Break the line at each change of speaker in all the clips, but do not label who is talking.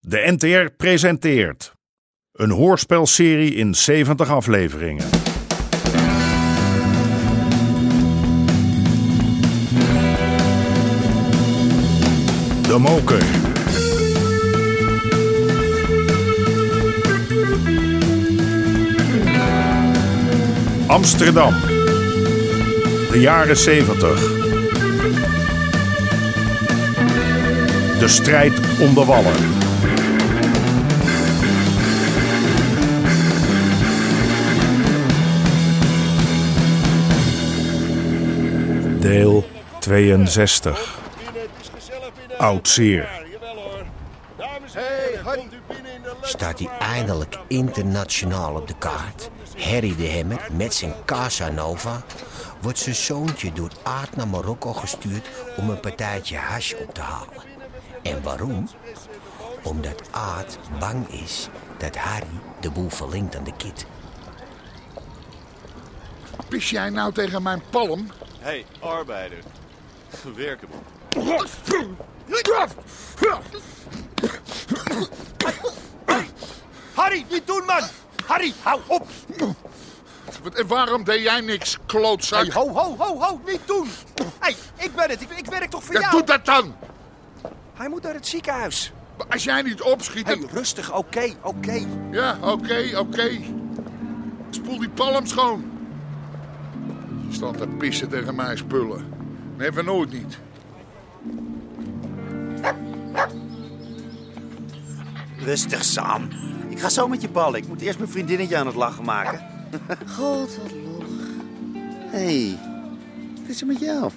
De NTR presenteert een hoorspelserie in 70 afleveringen. De Moker. Amsterdam. De jaren 70. De strijd om de wallen. Deel 62. Oud zeer.
staat hij eindelijk internationaal op de kaart. Harry de Hemmer met zijn Casanova wordt zijn zoontje door Aard naar Marokko gestuurd om een partijtje hash op te halen. En waarom? Omdat Aard bang is dat Harry de boel verlinkt aan de kit.
Pis jij nou tegen mijn palm?
Hey, arbeider. Werken man.
Harry, niet doen, man! Harry, hou op!
Wat- En waarom deed jij niks, klootzak?
Hey, ho, ho, ho, ho, niet doen! hey, ik ben het, ik, ik werk toch voor
ja,
jou?
doe dat dan!
Hij moet naar het ziekenhuis.
Maar Als jij niet opschiet,
Hey,
dan-
rustig, oké, oké.
Ja, oké, oké. Spoel die palm schoon. Je staat te pissen tegen mijn spullen. Nee, van nooit niet.
Rustig, Sam. Ik ga zo met je ballen. Ik moet eerst mijn vriendinnetje aan het lachen maken.
God, wat lollig.
Hé, hey, wat is er met jou?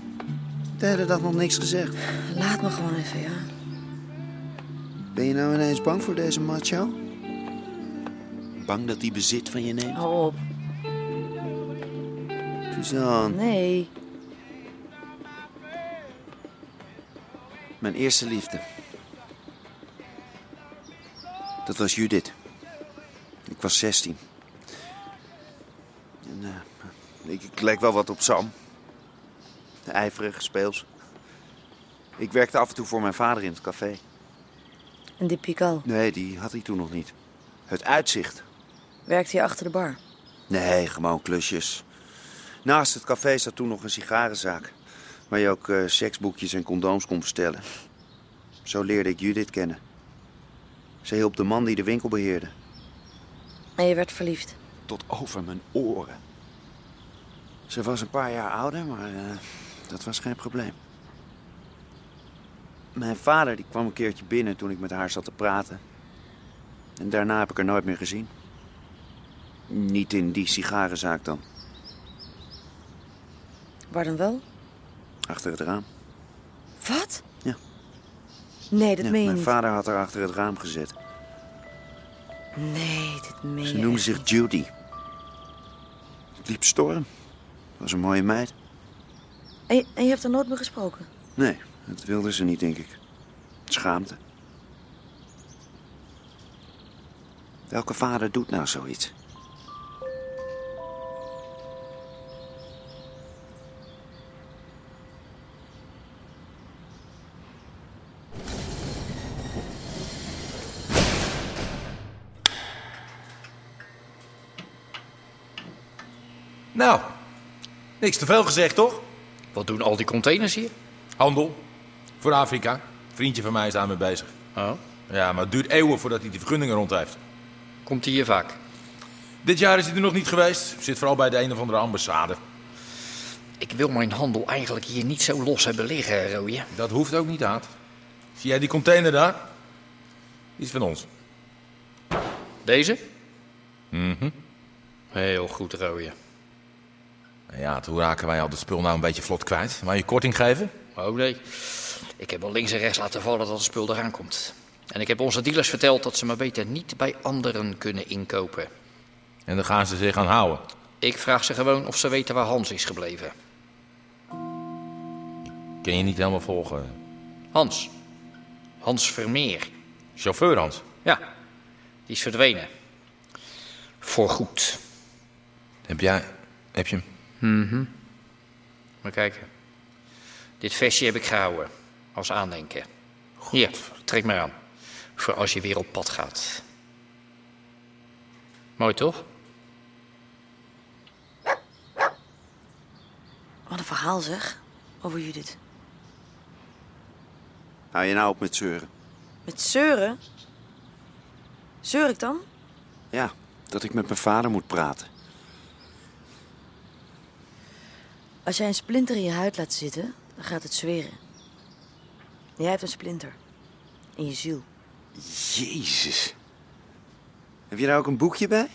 De hele dag nog niks gezegd.
Laat me gewoon even, ja.
Ben je nou ineens bang voor deze macho? Bang dat hij bezit van je neemt?
Hou op.
Suzanne,
Nee.
mijn eerste liefde. Dat was Judith. Ik was 16. En, eh, ik, ik leek wel wat op Sam. De ijverige speels. Ik werkte af en toe voor mijn vader in het café.
En die Pical,
Nee, die had hij toen nog niet. Het uitzicht.
werkte hier achter de bar?
Nee, gewoon klusjes. Naast het café zat toen nog een sigarenzaak. Waar je ook eh, seksboekjes en condooms kon bestellen. Zo leerde ik Judith kennen. Ze hielp de man die de winkel beheerde.
En je werd verliefd.
Tot over mijn oren. Ze was een paar jaar ouder, maar eh, dat was geen probleem. Mijn vader die kwam een keertje binnen toen ik met haar zat te praten. En daarna heb ik haar nooit meer gezien. Niet in die sigarenzaak dan,
Waar dan wel?
achter het raam.
Wat?
Ja.
Nee, dat
Ja,
meen je
mijn
niet.
vader had haar achter het raam gezet.
Nee, dit meen
Ze
je
noemde
echt
zich
niet.
Judy. Het liep storm. Was een mooie meid.
En je, en je hebt er nooit meer gesproken?
Nee, dat wilde ze niet, denk ik. Schaamte. Welke vader doet nou zoiets?
Nou, niks te veel gezegd, toch? Wat doen al die containers hier?
Handel. Voor Afrika. Vriendje van mij is daarmee bezig.
Oh,
Ja, maar het duurt eeuwen voordat hij die vergunningen rond heeft.
komt hij hier vaak?
Dit jaar is hij er nog niet geweest. Zit vooral bij de een of andere ambassade.
Ik wil mijn handel eigenlijk hier niet zo los hebben liggen, rooie.
Dat hoeft ook niet aan. Zie jij die container daar? Die is van ons.
Deze? Mhm. Heel goed, rooie.
Nou Ja, toen raken wij al dat spul nou een beetje vlot kwijt. Maar je korting geven?
Oh nee, ik heb wel links en rechts laten vallen dat het spul eraan komt. En ik heb onze dealers verteld dat ze maar beter niet bij anderen kunnen inkopen.
En dan gaan ze zich aan houden.
Ik vraag ze gewoon of ze weten waar Hans is gebleven.
Kun je niet helemaal volgen.
Hans. Hans Vermeer.
Chauffeur Hans.
Ja, die is verdwenen. Voorgoed.
Heb jij... Heb je hem?
Maar kijken. Dit vestje heb ik gehouden. Als aandenken. Hier, trek maar aan. voor als je weer op pad gaat. Mooi toch?
Wat een verhaal zeg. Over Judith.
Hou je nou op met zeuren?
Met zeuren? Zeur ik dan?
Ja, dat ik met mijn vader moet praten.
Als jij een splinter in je huid laat zitten, dan gaat het zweren. Jij hebt een splinter. In je ziel.
Jezus. Heb je daar ook een boekje bij?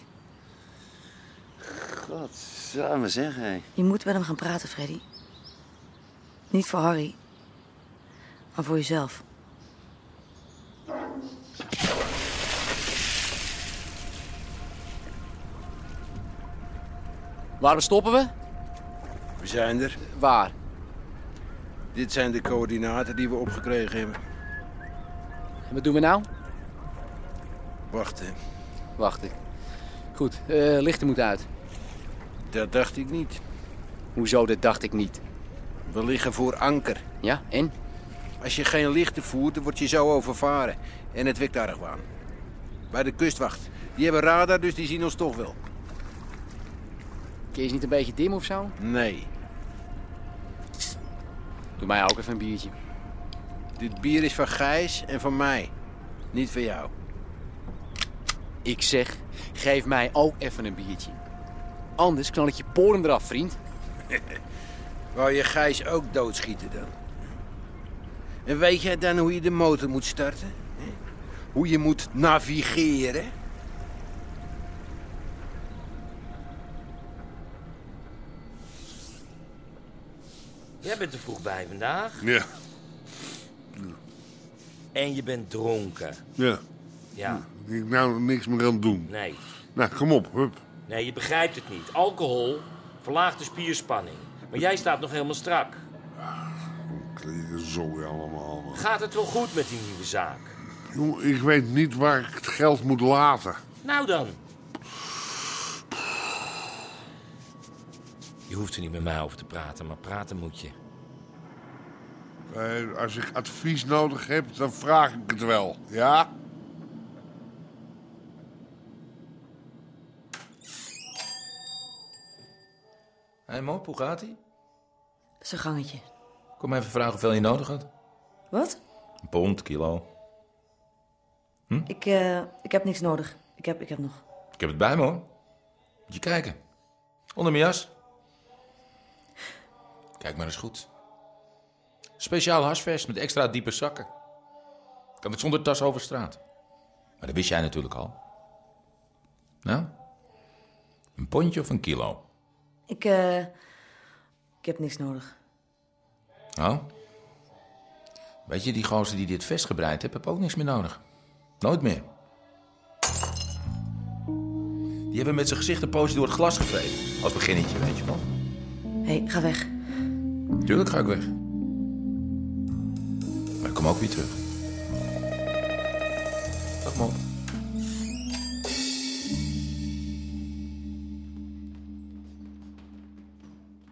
God, zou maar zeggen, hé.
Je moet met hem gaan praten, Freddy. Niet voor Harry, maar voor jezelf.
Waarom stoppen we?
We zijn er.
Waar?
Dit zijn de coördinaten die we opgekregen hebben.
En wat doen we nou?
Wachten.
Wachten. Goed, eh, lichten moeten uit.
Dat dacht ik niet.
Hoezo, dat dacht ik niet.
We liggen voor anker.
Ja, en?
Als je geen lichten voert, dan word je zo overvaren. En het wekt argwaan. Bij de kustwacht. Die hebben radar, dus die zien ons toch wel.
Kun je eens niet een beetje dim of zo?
Nee,
Doe mij ook even een biertje.
dit bier is van Gijs en van mij. Niet van jou.
Ik zeg, geef mij ook even een biertje. Anders knal ik je poren eraf, vriend.
Wou je Gijs ook doodschieten dan? En weet jij dan hoe je de motor moet starten? hè? Hoe je moet navigeren?
Jij bent er vroeg bij vandaag.
Ja,
En je bent dronken.
ja.
Hm.
Ja.
Ik nou niks meer aan het doen.
Nee.
Nou, kom op, hup.
Nee, je begrijpt het niet. Alcohol verlaagt de spierspanning. Maar jij staat nog helemaal strak.
Kleden zooi allemaal. man.
Gaat het wel goed met die nieuwe zaak?
Jongen, ik weet niet waar ik het geld moet laten.
Nou dan. Je hoeft er niet met mij over te praten, maar praten moet je.
Eh, als ik advies nodig heb, dan vraag ik het wel, ja?
Hé Mop, hoe gaat ie?
Zijn gangetje.
Kom even vragen hoeveel je nodig had.
Wat?
Een pond, kilo.
Ik, eh, ik heb niks nodig. Ik heb, ik heb nog.
Ik heb het bij me hoor. Moet je kijken. Onder mijn jas. Kijk maar eens goed. Speciaal hasvest met extra diepe zakken. Kan ik zonder tas over straat. Maar dat wist jij natuurlijk al. Nou? Een pondje of een kilo?
Ik, eh, ik heb niks nodig.
Oh? Weet je, die gozer die dit vest gebreid heeft, heb ook niks meer nodig. Nooit meer. Die hebben met zijn gezicht een poosje door het glas gevreten. Als beginnetje, weet je wel.
Hé, hey, ga weg.
Tuurlijk ga ik weg. Maar ik kom ook weer terug. Dag, man.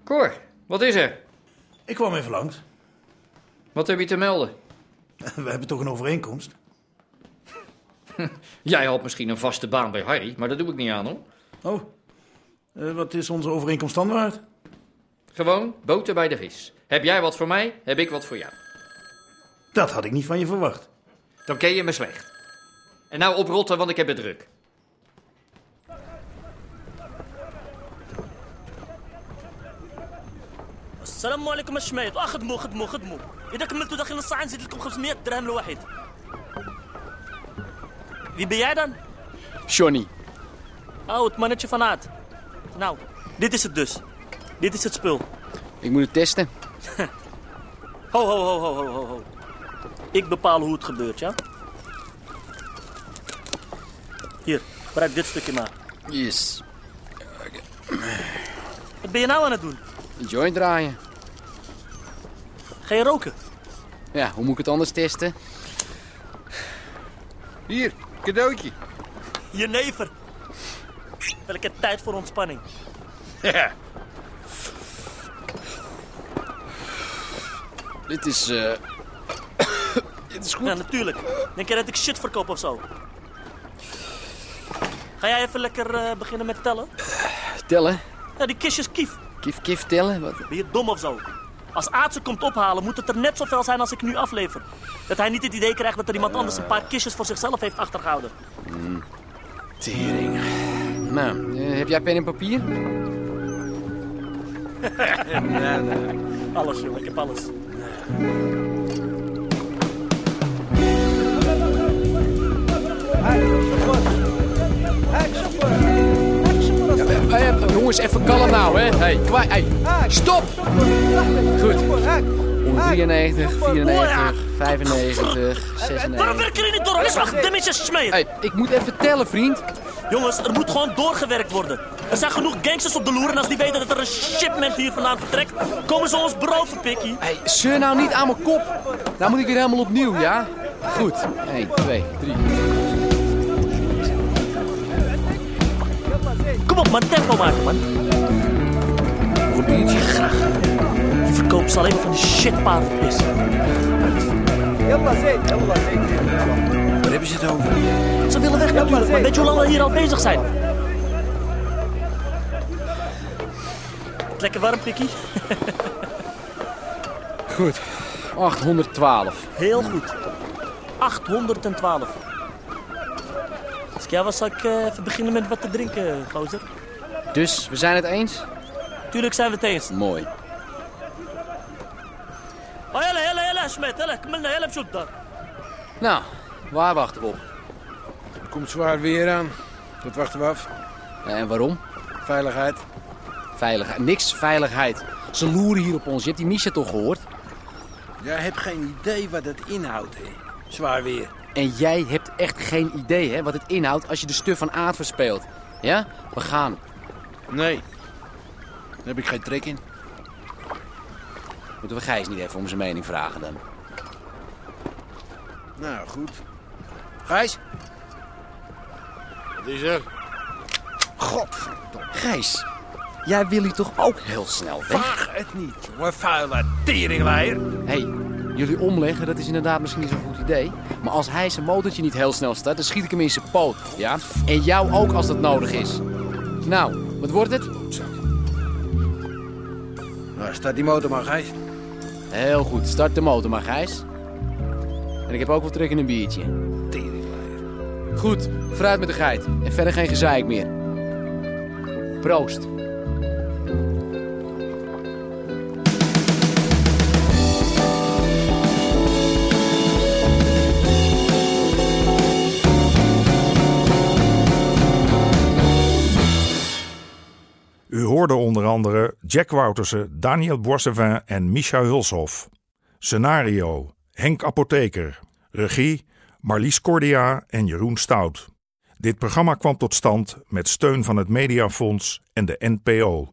Cor, wat is er?
Ik kwam even langs.
Wat heb je te melden?
We hebben toch een overeenkomst?
Jij had misschien een vaste baan bij Harry, maar dat doe ik niet aan hoor.
Oh, eh, wat is onze overeenkomst dan waard?
Gewoon boter bij de vis. Heb jij wat voor mij, heb ik wat voor jou.
Dat had ik niet van je verwacht.
Dan ken je me slecht. En nou oprotten, want ik heb het druk.
السلام عليكم الشمايط اه خدموا خدموا خدموا اذا كملتوا داخل نص ساعه نزيد لكم 500 درهم الواحد ذي بيعدا
Johnny.
او 8 فنات Nou, dit is het dus. Dit is het spul.
Ik moet het testen.
Ho, ho, ho, ho, ho, ho, ho. Ik bepaal hoe het gebeurt, ja? Hier, gebruik dit stukje maar.
Yes.
Wat ben je nou aan het doen?
Een joint draaien.
Ga je roken?
Ja, hoe moet ik het anders testen?
Hier, cadeautje.
Je never. Welke tijd voor ontspanning.
Dit is... eh,
het is goed. Ja, natuurlijk. Denk je dat ik shit verkoop of zo? Ga jij even lekker eh, beginnen met tellen?
Tellen?
Ja, die kistjes kief.
Kif, kif tellen? Wat?
Ben je dom of zo? Als Aadse komt ophalen, moet het er net zoveel zijn als ik nu aflever. Dat hij niet het idee krijgt dat er iemand anders een paar kistjes voor zichzelf heeft achtergehouden.
Hmm. Tering. Nou, eh, heb jij pen en papier?
nee, nee. Alles, jongen, ik heb alles.
Eh, eh, jongens, even kalm nou, hè. Hey, kwa- hey, stop! Goed. 93, 94, 95, 96...
Waarom werken jullie niet door? Alles wacht, de mensen smeren. Hey,
ik moet even tellen, vriend.
Jongens, er moet gewoon doorgewerkt worden. Er zijn genoeg gangsters op de loer en als die weten dat er een shipment hier vandaan vertrekt, komen ze ons broven, pikkie.
Hey, Zeur nou niet aan mijn kop. Nou moet ik weer helemaal opnieuw, ja? Goed. 1, 2, 3.
Kom op, man, tempo maken, man. Voor een biertje graag. Die verkoopt ze alleen maar van die shitpaardpis.
Waar hebben ze het over?
Ze willen weg natuurlijk, maar weet je hoe lang we hier al bezig zijn? Het lekker warm, pikkie.
Goed. 812.
Heel goed. 812. Als ik jou was, zou ik eh, even beginnen met wat te drinken, gozer.
Dus, we zijn het eens?
Tuurlijk zijn we het eens.
Mooi.
Oh, hele, hele, hele, smet, hele, kmelna, hele, zoet daar.
Nou, waar wachten we op?
Het komt zwaar weer aan. Dat wachten we af.
Eh, En waarom?
Veiligheid.
Veiligheid. Niks veiligheid. Ze loeren hier op ons. Je hebt die Misha toch gehoord?
Jij hebt geen idee wat het inhoudt, hè? Zwaar weer.
En jij hebt echt geen idee hè, wat het inhoudt als je de stuf van aard verspeelt. Ja? We gaan.
Nee. Daar heb ik geen trek in.
Moeten we Gijs niet even om zijn mening vragen dan?
Nou, goed. Gijs? Wat is er?
Godverdomme. Gijs, jij wil hier toch ook heel snel weg?
Vraag het niet, jongen, vuile teringleier.
Hé, hey, jullie omleggen, dat is inderdaad misschien niet zo'n goed idee. Maar als hij zijn motortje niet heel snel start, dan schiet ik hem in zijn poot. Ja? En jou ook als dat nodig is. Nou, wat wordt het?
Nou, staat die motor maar, Gijs.
Heel goed, start de motor maar, Gijs. En ik heb ook wel trek in een biertje. Goed, vooruit met de geit. En verder geen gezeik meer. Proost.
U hoorde onder andere Jack Woutersen, Daniel Boissevin en Micha Hulshoff. Scenario: Henk Apotheker. Regie: Marlies Cordia en Jeroen Stout. Dit programma kwam tot stand met steun van het Mediafonds en de NPO.